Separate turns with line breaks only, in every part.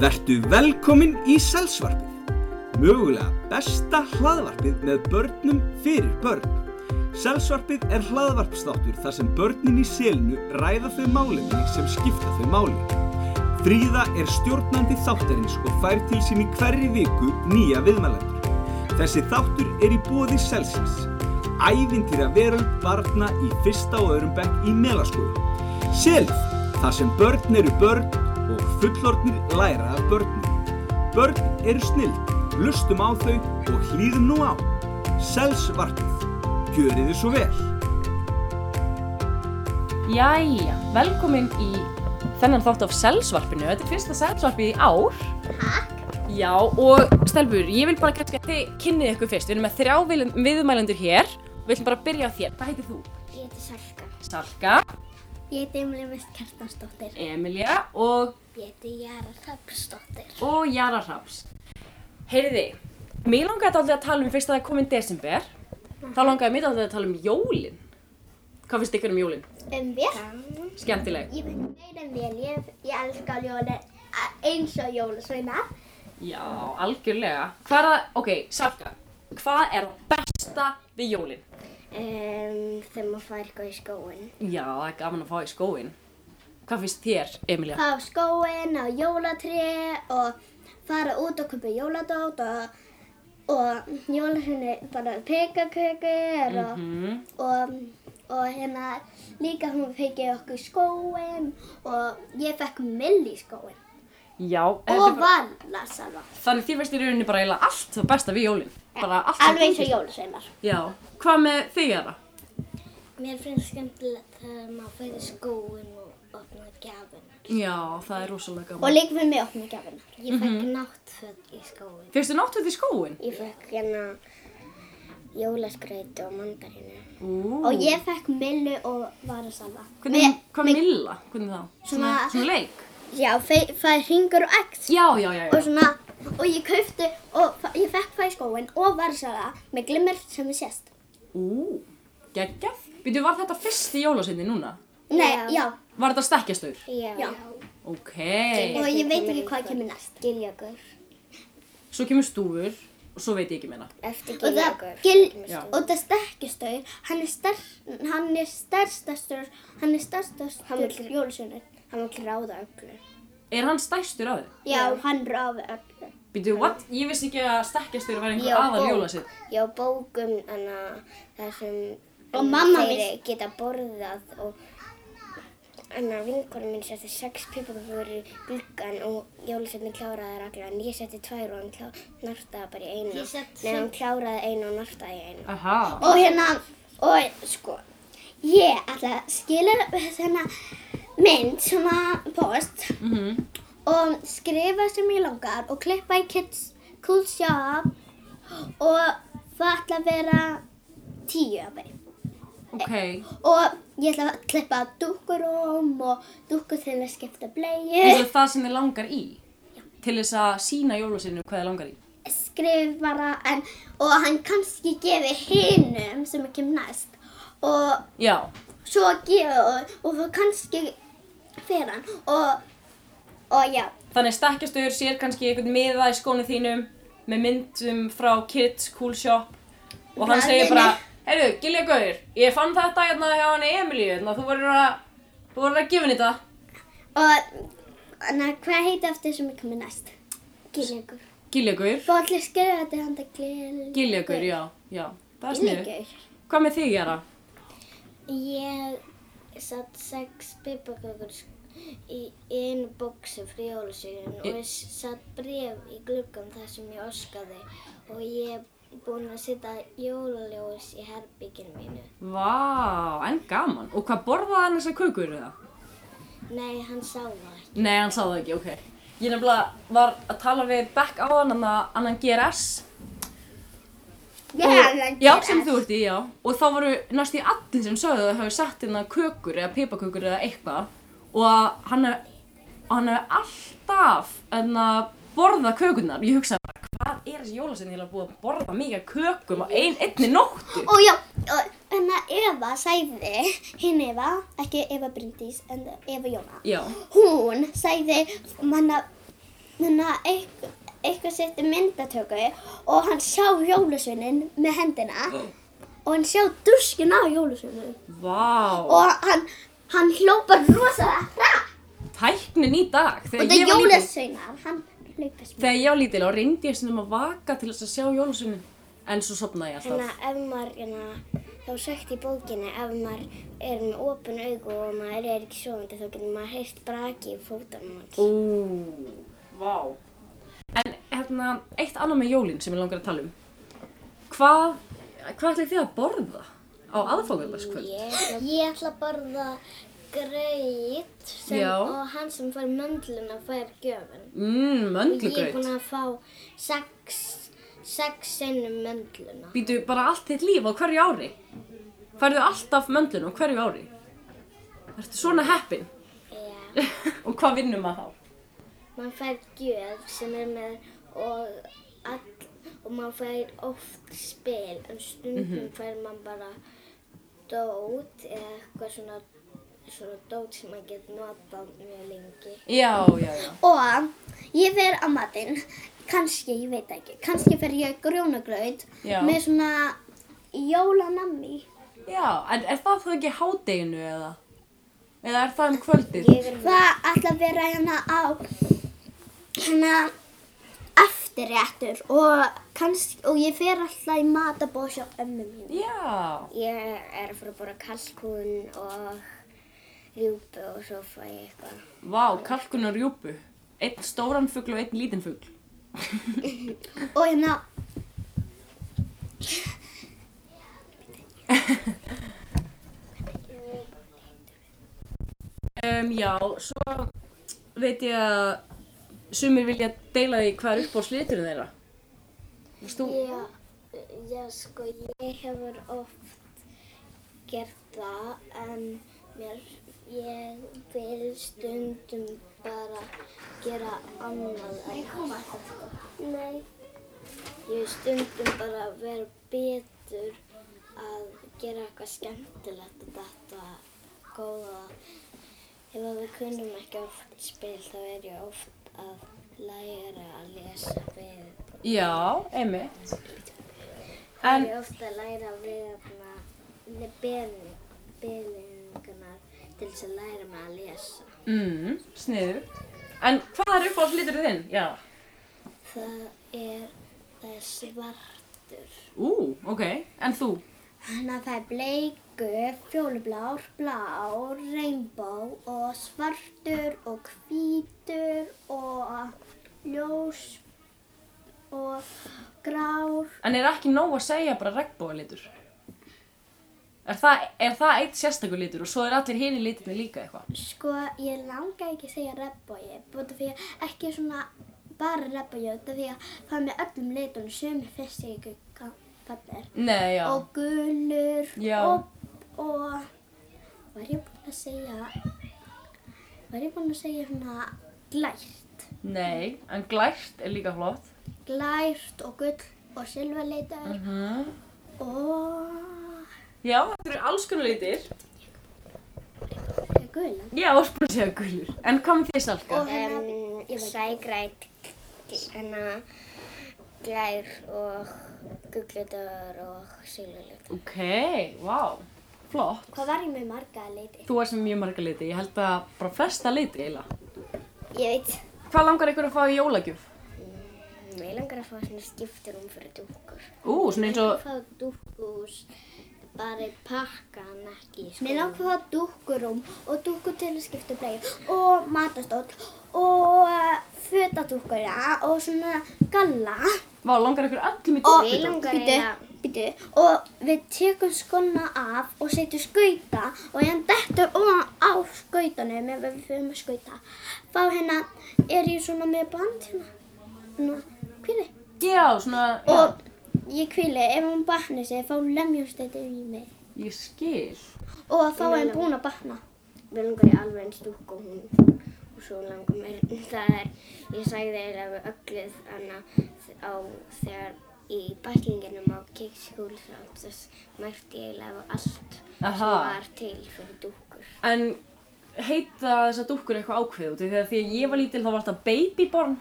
Vertu velkomin í Selsvarpið, mögulega besta hlaðvarpið með börnum fyrir börn. Selsvarpið er hlaðvarpstáttur þar sem börnin í selinu ræða þau málefni sem skipta þau máli. Fríða er stjórnandi þáttarins og fær til sín í hverri viku nýja viðmælendur. Þessi þáttur er í bóði Selsins, ævintýra veröld barna í fyrsta og öðrum bekk í melaskólu. Selið, þar sem börn eru börn og fullorðnir læra af börnum. Börn eru snild, lustum á þau og hlýðum nú á. Selsvarpið, gjörið þið svo vel.
Jæja, velkomin í þennan þátt af selsvarpinu. Þetta er fyrsta selsvarpið í ár. Takk. Já, og Stelbur, ég vil bara kannski að þið kynnið ykkur fyrst. Við erum með þrjá vil- viðmælendur hér. Við ætlum bara að byrja á þér. Hvað heitir þú?
Ég heiti Salka.
Salka,
Ég heiti Emilie Mist Kjartansdóttir.
Emilia og,
Ég heiti Jara Hrafnsdóttir.
og Jara Raps. Heyriði, mér langaði þetta að tala um fyrst að það er komin desember. Þá langaði mér þetta að tala um jólin. Hvað finnst ykkur um jólin?
Um við?
Skemmtileg.
Ég veit meira en vel. Ég, ég elska jólin eins og jólasveina.
Já, algjörlega. Hvað er það, ok, Salka, hvað er það besta við jólinn?
Um, þegar maður fær eitthvað í skóin.
Já, það er gaman að fá í skóin. Hvað finnst þér, Emilia?
Fá skóin á jólatri og fara út og köpa jóladót og og jólasveinu bara pekakökur og,
Mhm.
og, og hérna líka hún fekið okkur skóin og ég fekk milli skóin.
Já, þetta er
og
bara,
valla salva.
þannig þér finnst í rauninni bara eiginlega allt það besta við jólinn. Bara allt
Alveg eins og jólasveinar.
Já, hvað með þig er það?
Mér finnst skemmtilegt þegar maður fyrir skóin og opna gjafina.
Já, það er rosalega
Og
gaman.
líka fyrir mig opna gjafina. Ég fekk
Mhm.
mm náttföld í skóin.
Fyrstu náttúrulega í skóin?
Ég fekk hérna jólaskrauti og mandarinu.
Ú,
Og ég fekk millu og varasalva.
hvernig, hvað Milla, hvernig þá? Svona,
Svona-
svona leik?
Já, fe- það hringur og x.
Já, já, já,
Og
já.
svona, og ég kaufti, og fa- ég fekk það í skóin og varasalva með glimmer sem við sést.
Ú, geggjaf. Býtu, var þetta fyrsti jólasveindi núna?
Nei, já.
Var þetta stekkjastaur?
Já. já.
Ok.
Og ég veit ekki hvað kemur næst. Giljögur.
Svo kemur stúfur og svo veit ég ekki meina.
eftir giljagur. Gil,
Já.
og það stekkjastaur, hann er, ster, hann er stærstastaur, hann er stærstastaur jólusunni. Hann vil ráða öllu.
Er hann stærstur af þau?
Já, hann ráði öllu.
Býtu, what? Ég vissi ekki að stekkjastur væri
Já,
einhver aðal
bók.
jólasinn.
Já, bókum hana, það sem og mamma þeir mín. geta borðað og annar vinkonum minn setti sex pipakökur í gluggan og jólusunni kláraði þær allar en ég setti tvær og hann klá, nartaði bara í einu. Nei, hann kláraði einu og nartaði í einu.
Aha.
Og hérna, og sko, ég ætla að skila þennan mynd, svona post,
Mm
og skrifa sem ég langar og klippa í Kids Cool Shop og það ætla að vera tíu af þeim.
Ok.
Og ég ætla að klippa dúkkuróm og dúkkur til að skipta
Þetta
bleiðu.
er það sem þið langar í. Til þess að sína jólasinnu hvað þið langar í.
Skrif bara, en, og hann kannski gefi hinum sem er kemur næst. Og
Já.
svo gefa og, og þá kannski fer hann og, og já,
Þannig stekkjastur sér kannski einhvern miða í skónu þínum með myndum frá Kids Cool Shop og hann
Bræðinni.
segir bara Heyrðu, Gilja Gauður, ég fann þetta hérna hjá hann Emilíu, hérna, þú verður að, þú verður að gefa henni þetta.
og na, hvað heiti eftir sem er komið næst? Giljagur.
Gilja Gauður.
Þú allir skrifa þetta handa giljagur.
Giljagur, já, já, það er sniður. Hvað með þig, Jara?
Ég satt sex pipakökur í einu bóksi frá jólusögun
Í-
og ég satt bref í gluggan þar sem ég oskaði og ég er búin að setja jólaljós í herbygginu mínu.
Vá, en gaman. Og hvað borðaði hann þessar kökur eða?
Nei, hann sá það ekki.
Nei, hann sá það ekki, ok. Ég nefnilega var að tala við Beck á hann, annan, annan GRS.
Ég hef hann
Já, sem þú ert í, já. Og þá voru næst í allir sem sögðu að það hefur sett hérna kökur eða pipakökur eða eitthvað. Og að hann hef, og hann hef alltaf en að borða kökurnar. Ég hugsaði bara, hvað er þessi jólasinn ég búið að borða mikið af kökum á ein, einni nóttu?
Og já, og en að Eva sæði, hinn Eva, ekki Eva Bryndís, en Eva Jóna.
Já.
Hún sæði manna
hérna, eitthvað, eitthvað setti myndatöku og hann sá jólusveinin með hendina og hann sjá duskin á jólusveinin
Vá,
og hann, hann hlópar rosalega hratt
tæknin í dag. Þegar
og
ég var
það er
lítil-
jólusveinar, hann hlaupa smá.
Þegar ég var lítil á reyndi ég sem að vaka til þess að sjá jólusunni. En svo sopnaði ég
Þannig
alltaf.
að ef maður, hérna, þá er sagt í bókinni, ef maður er með opin augu og maður er ekki sofandi, þá getur maður heyrt braki í fótunum hans.
Ó, vá. En hérna, eitt annað með jólinn sem ég langar að tala um. Hvað, hvað ætlið þið að borða á aðfangadagskvöld?
Ég,
Ég ætla að borða greit
sem- Já. og
hann sem fær möndluna fær gjöfun.
Mmm, möndlugraut.
að fá sex, sex sinnum möndluna.
Býtu bara allt þitt líf á hverju ári. Færðu alltaf möndlun á hverju ári. Ertu svona heppin?
Já,
Og hvað vinnum maður þá?
maður fær gjöf sem er með og, all, og maður fær oft spil en stundum fær maður bara dót eða eitthvað svona, svona dót sem maður getur notað mjög lengi.
Já, já, já.
Og ég fer á matinn, kannski, ég veit það ekki, kannski fer ég grjónagraut
Já.
með svona jólanammi.
Já, en er það þá ekki hádeginu eða? Eða er það um kvöldið?
ég er
Það ætla að vera hérna á hérna eftirréttur og, kannski, og ég fer alltaf í matabóð hjá ömmu mín.
Já,
Ég er að fara að bora kalkún og rjúpu og svo fæ ég eitthvað.
vá, kalkun og rjúpu. Einn stóran fugl og einn lítinn fugl.
Og hérna
Um, já, svo veit ég að sumir vilja deila því hvað er upp á sliturinn þeirra. Veist þú?
Já, já, sko, ég hefur oft gert það, en mér, ég vil stundum bara gera annað en koma þetta, sko. Nei. Ég vil stundum bara vera betur að gera eitthvað skemmtilegt og þetta góða. Ef að við kunnum ekki oft spil, þá er ég oft að læra að lesa við
Já, einmitt. En,
ég er ofta að læra við
eh,
hérna beðingunar til þess að læra
um
mig að lesa.
mm, sniður. En hvað er upp á sliturinn þinn? Já.
Það er, það er svartur.
Ú, ok. En þú?
Þannig að það er bleiku, fjólublár, blár, rainbow og svartur og hvítur og ljós og grár.
En er ekki nóg að segja bara regnbóðalitur? Er það, er það eitt sérstakur litur og svo er allir hinni litirni líka eitthvað?
Sko, ég langa ekki að segja rebbói, búið því að ekki svona bara rebbói, út af því að það er með öllum litunum sem fyrst ég ekki kannir.
Nei, já.
Og gulur
Já.
og, og var ég búin að segja, var ég búin að segja svona glært,
Nei, en glært er líka flott.
glært og gull og silfarleitar
Mm.
og
Já, þetta eru alls konar litir.
og gula.
Já, orðbúin að segja gulur. En hvað með því salka?
Og hérna,
Um, Sægræt, hérna, glær og gugglutur og silvulut.
Ok, vá, flott.
hvað var ég með marga leiti?
Þú er sem mjög marga liti, ég held að bara flesta liti eiginlega.
Ég veit,
Hvað langar ykkur að fá í jólagjöf?
ég langar að fá svona skipturum fyrir dúkur.
Ú, svona eins og,
Fá dúkus, bara í pakkan, ekki í
Mér langar að fá dúkkurúm og dúkkur til að skipta bleið og matastóll og fötadúkkur og svona galla
vá, langar ykkur öllum í
og
dúkkulita?
bíddu, bíddu, og við tekum skona af og setjum skauta og hann dettur ofan á skautanum ef við fyrir með skauta þá hérna er ég svona með band hérna, hérna, hvíli
Já, svona,
og ég hvíli ef hún batni sig þá lemjast þetta í mig
já, ég skil.
og þá er hann búinn að batna
Mér langar í alveg eins dúkku og hún og svo langar mér, það er, ég sagði eiginlega við ölluð hana á þegar í bæklinginum á Kikskúl þá þess mætti ég eiginlega við allt
Aha.
sem var til fyrir dúkkur.
En heita þessar dúkkur eitthvað ákveðu? Þegar því að ég var lítil þá var þetta babyborn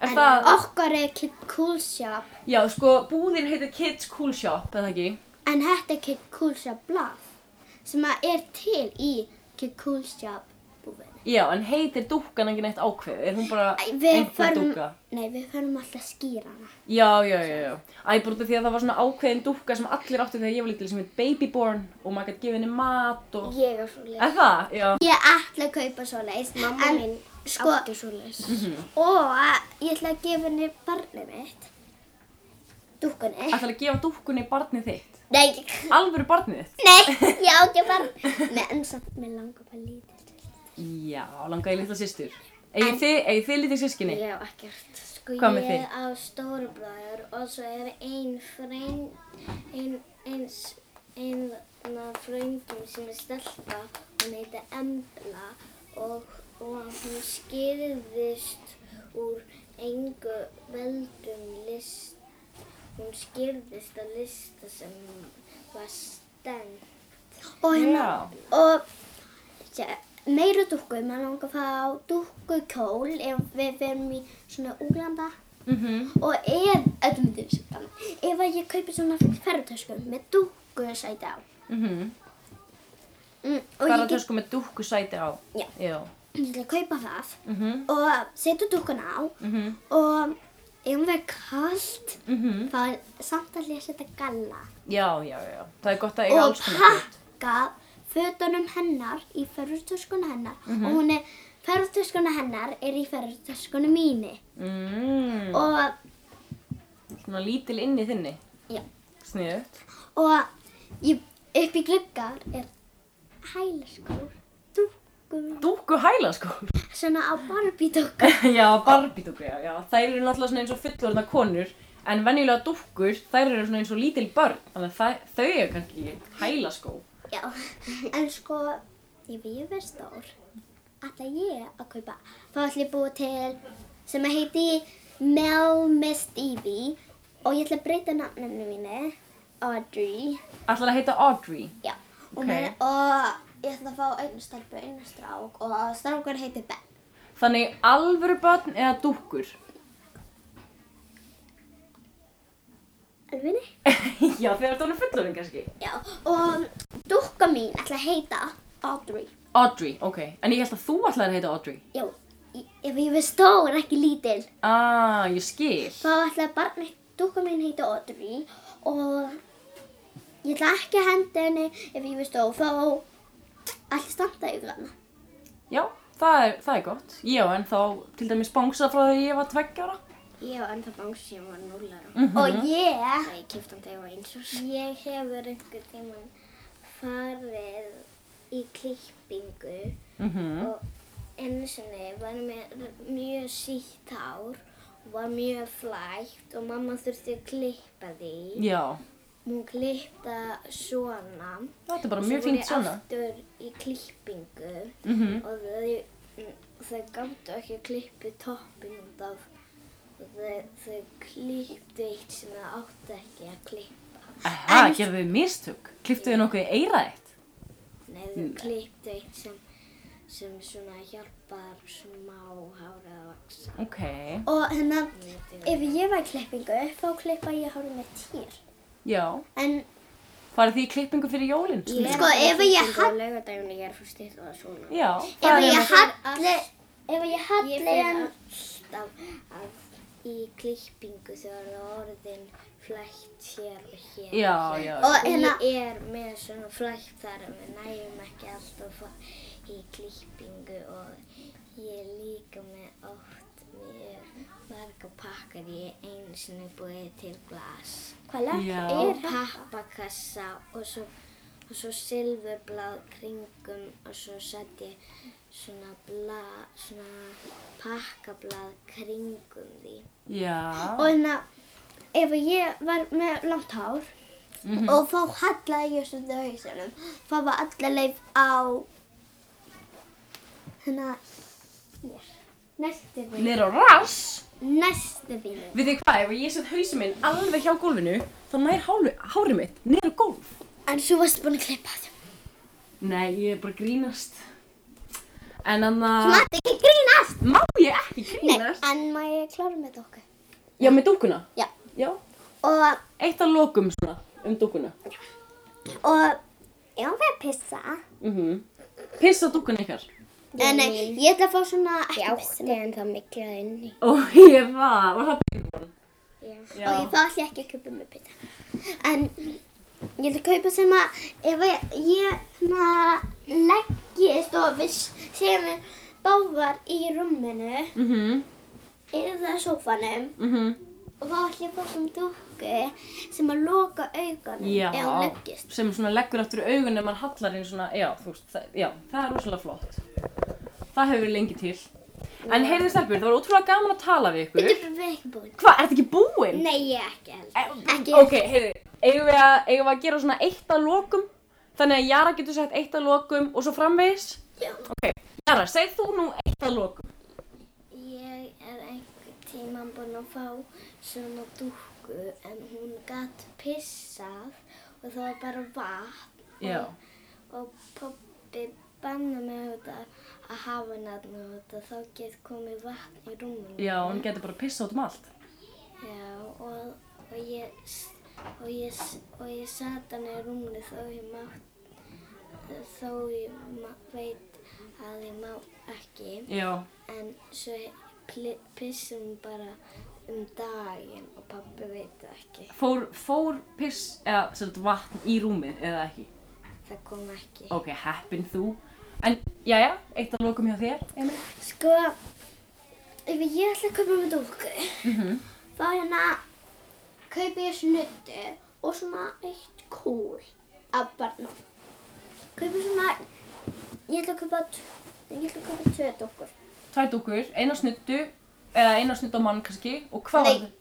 Er
En
það,
okkar er Kid Cool Shop,
já, sko, búðin heitir Kids Cool Shop, eða ekki?
en þetta er Kid Cool Shop blað sem að er til í Kid Cool Shop búinu.
Já, en heitir dúkkan ekki neitt ákveðið? Er hún bara
Við
einhver
förum,
dúkka?
nei, við förum alltaf að skýra hana.
Já, já, já, já. Æ, bara út af því að það var svona ákveðin dúkka sem allir áttu þegar ég var lítil sem heit Babyborn og maður gæti gefið henni mat og...
Ég er svo leið.
Er það? Já.
Ég ætla að kaupa svo leiðis.
Mamma mín
sko-
átti svo leys.
Og ég ætla að gefa henni barnið mitt. Dúkkunni.
Ætlar að gefa dúkkunni barnið þitt?
Nei, ég-
Alvöru barnið þitt?
nei, ég á ekki barn. Nei, en samt mér langar bara lítið til.
Já, langaði í litla systur. Egið þið, eigið þið litið sískinni?
Ég á ekkert.
Sko,
Hvað með
ég
þig?
á stórubræður og svo er ein freynd, ein, eins, einna freyndum sem er stelpa, hún heitir Embla og, og hún skýrðist úr engu veldum list, hún skýrðist á lista sem var stend. Og
Já.
og ja, meira dúkku, maður langar að fá dúkkukjól ef við verum í svona úglanda
Mhm.
og ef, öllum myndum við svona, ef að ég kaupi svona ferðartösku með dúkku sæti á
Mhm.
mm, og
Bara
ég
að
get,
tösku með dúkku sæti á.
Já.
Já.
ég ætla að kaupa það
Mhm.
og setja dúkkuna á
Mhm.
og ef hún verður kallt
Mhm.
þá er samt að ég setja galla
Já, já, já. Það er gott að eiga
og
alls konar hlut.
pakka fötunum hennar í ferðartöskuna hennar
Mhm.
og hún er ferðartöskuna hennar er í ferðartöskuna mínu
Mm,
og,
svona lítil inni þinni.
já,
Sniðugt.
og ég, upp í gluggar er hælaskór dúkum
Dúkku hælaskór.
svona á Barbie dúkum
Já, Barbie dúkku, já, já. Þær eru náttúrulega svona eins og fullorðna konur en venjulega dúkkur, þær eru svona eins og lítil börn þannig að þær- þau eru kannski sko. hælaskó.
já, en sko ef ég verð stór ætla ég að kaupa þá ætla ég að búa til sem að heiti Mel Miss Stevie og ég ætla að breyta nafninu mínu Audrey
Ætlar að heita Audrey.
Já, og,
Ok.
okay. og ég ætla að fá einu stelpu, einu strák og strákur heitir Ben.
Þannig alvöru börn eða dúkkur?
Alvinni?
já, þegar þú erum fullorðin kannski.
Já, og dúkka mín ætla að heita Audrey.
Audrey, ok. En ég held að þú ætlar að heita Audrey.
Já, í- ef ég verð stór, ekki lítil,
Ah, ég skil.
þá ætla barnið, dúkka mín heita Audrey og ég ætla ekki að henda henni ef ég verð stór, þá ætla standa í grana.
Já, það er, það er gott. Ég á ennþá til dæmis bánsað frá því ég var tveggjára.
Ég á ennþá bánsu sem var núlar
Mhm.
Og ég,
og ég kipta hann þegar ég var eins og
ég hefur einhver tíman farið í klippingu
Mm
og einu sinni var ég með mjög sítt hár og var mjög flægt og mamma þurfti að klippa því.
Já,
Hún klippta svona.
þetta er bara mjög fínt svona.
Svo voru ég aftur í klippingu
Mm
og þau, þau gáttu ekki að klippa toppin út af þau, þau klipptu eitt sem þau áttu ekki að klippa.
Aha, gerðu þið mistök? Kliftu þið nokkuð í eira eitt?
Nei, þau
Mm.
klipptu eitt sem, sem svona hjálpar smá hárið að vaksa.
Ok.
Og hérna, ef ég var í klippingu, þá klippa ég hárið með týr.
Já.
En
Farið þið í klippingu fyrir jólinn?
Sko, ef ég hall-
Laugardaginu ég er frá styrla og svona.
Já.
ef
farið
ég
með-
halli, ef ég
Ég
halli
fyrir
en...
alltaf að í klippingu þegar það er orðin flætt hér og hér.
Já, já.
Og
Og
hérna,
ég er með svona flætt þar en við nægjum ekki alltaf að fá í klippingu og ég er líka með oft mjög marga pakkar ég einu sinni búið til glas
hvað lag
Já.
er
og
það?
pappakassa og svo, og svo silfurblað kringum og svo sett ég svona, bla, svona pakkablað kringum því.
Já.
Og hérna, ef ég var með langt hár
Mhm.
og þá hallaði ég svolítið á hausunum, þá var allar leif á, hérna, hér, næstu fínu,
Nýr á rass.
næstu fínu.
Við þið hvað, ef ég set hausin minn alveg hjá gólfinu, þá nær hálu, hárið mitt nýr á gólf.
En svo varstu búin að klippa það.
Nei, ég er bara að grínast. En annað...
Þú mátt ekki grínast!
Má ég ekki grínast?
En má ég klára með dokku?
Já, með dúkuna?
Já.
Já.
Og,
Eitt að lokum svona, um dúkuna.
og, já, við að pissa.
Mm Pissa dúkuna ykkar.
En nei, ég ætla að fá svona ekki
Ég
pissa.
átti en það miklaði inni.
Ó, ég var, var það byggjum? Já.
Og ég þá ætla ég ekki að kaupa með pita. En ég ætla að kaupa sem að, ef ég, ég hérna leggist og við séum við báðar í rúminu
Mhm,
eða sófanum
mhm,
og þá ætla ég að fá svona dokku sem að loka augunum
já.
ef hún leggist.
Sem svona leggur aftur augun ef maður hallar einn svona, já, þú veist, það, já, það er rosalega flott. Það hefur verið lengi til. En heyrðu stelpur, það var ótrúlega gaman að tala við ykkur.
Þetta er ekki búin.
Hvað, er þetta ekki búinn?
Nei, ég ekki heldur.
Ekki. Ok, heyrðu, eigum við, að, eigum við að gera svona eitt að lokum? Þannig að Jara getur sagt eitt að lokum og svo framvegis?
Já.
Ok, Jara, segð þú nú eitt að lokum.
Ég er einhver tíma búin að fá svona dúkku en hún gatt pissað og það var bara vatn
Já.
og poppi banna mig þetta að hafa hennar og þetta þá get komið vatn í rúminu.
Já, hún getur bara að pissa út um allt.
Já, og, og ég, s- og ég, s- og ég sat hann í rúminu þó ég mátt, þó ég ma, veit að ég má ekki.
Já.
En svo pli- pissum við bara um daginn og pabbi veit það ekki.
Fór, fór piss, eða sem sagt vatn í rúmið eða ekki?
Það kom ekki.
Ok, heppin þú. En, jæja, eitt að lokum hjá þér, Emil.
Sko, ef ég ætla að kaupa með dúku, þá hérna kaupi ég snuttu og svona eitt kúl af barnum. Kaupi svona, ég ætla að kaupa, t- ég ætla að kaupa tvö dúkur.
Tvær dúkur, eina snuttu, eða eina snutt á mann kannski, og hvað
Nei.
var þetta?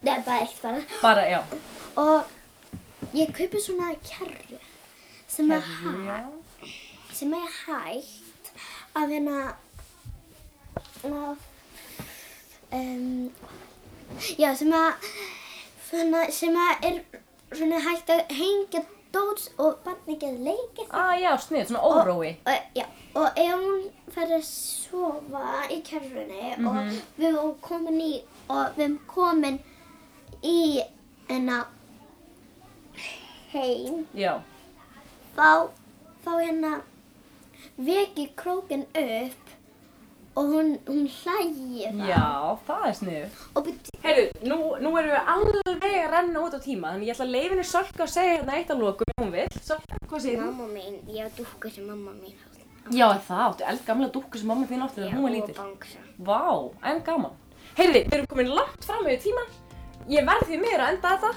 Nei, bara eitt bara.
Bara, já.
Og ég kaupi svona kerru sem er hægt. sem er hægt að hérna að um, já sem að svona, sem að er svona hægt að hengja dóts og barni getur leikið
Ah, já, snið, svona órói.
og, já, og ef hún fer að sofa í kerrunni
Mhm.
og við erum komin í og við erum komin í hérna heim
Já,
þá, þá hérna veki krókin upp og hún, hún hlægir það
já, það er snið.
og byrja
Heyrðu, nú, nú erum við alveg að renna út á tíma, þannig ég ætla að leifinni Sölka að segja hérna eitt að lokum, ef hún vil. Sölka, hvað segir þú?
Mamma mín, ég á dúkku sem mamma mín átti.
Já, það áttu eldgamla dúkku sem mamma þín átti þegar hún var lítil.
Og bangsa.
Vá, en gaman. Heyrði, við erum komin langt fram yfir tíman. Ég verð því meira að enda þetta.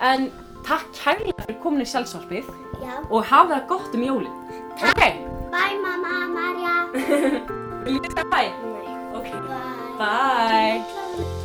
En takk kærlega fyrir komin í sjálfsvarpið
já
og hafa það gott um jólin. Takk. Ok,
bæ mamma Marja
viljum við segja bæ?
Nei.
Ok,
bæ
bæ.
Klára.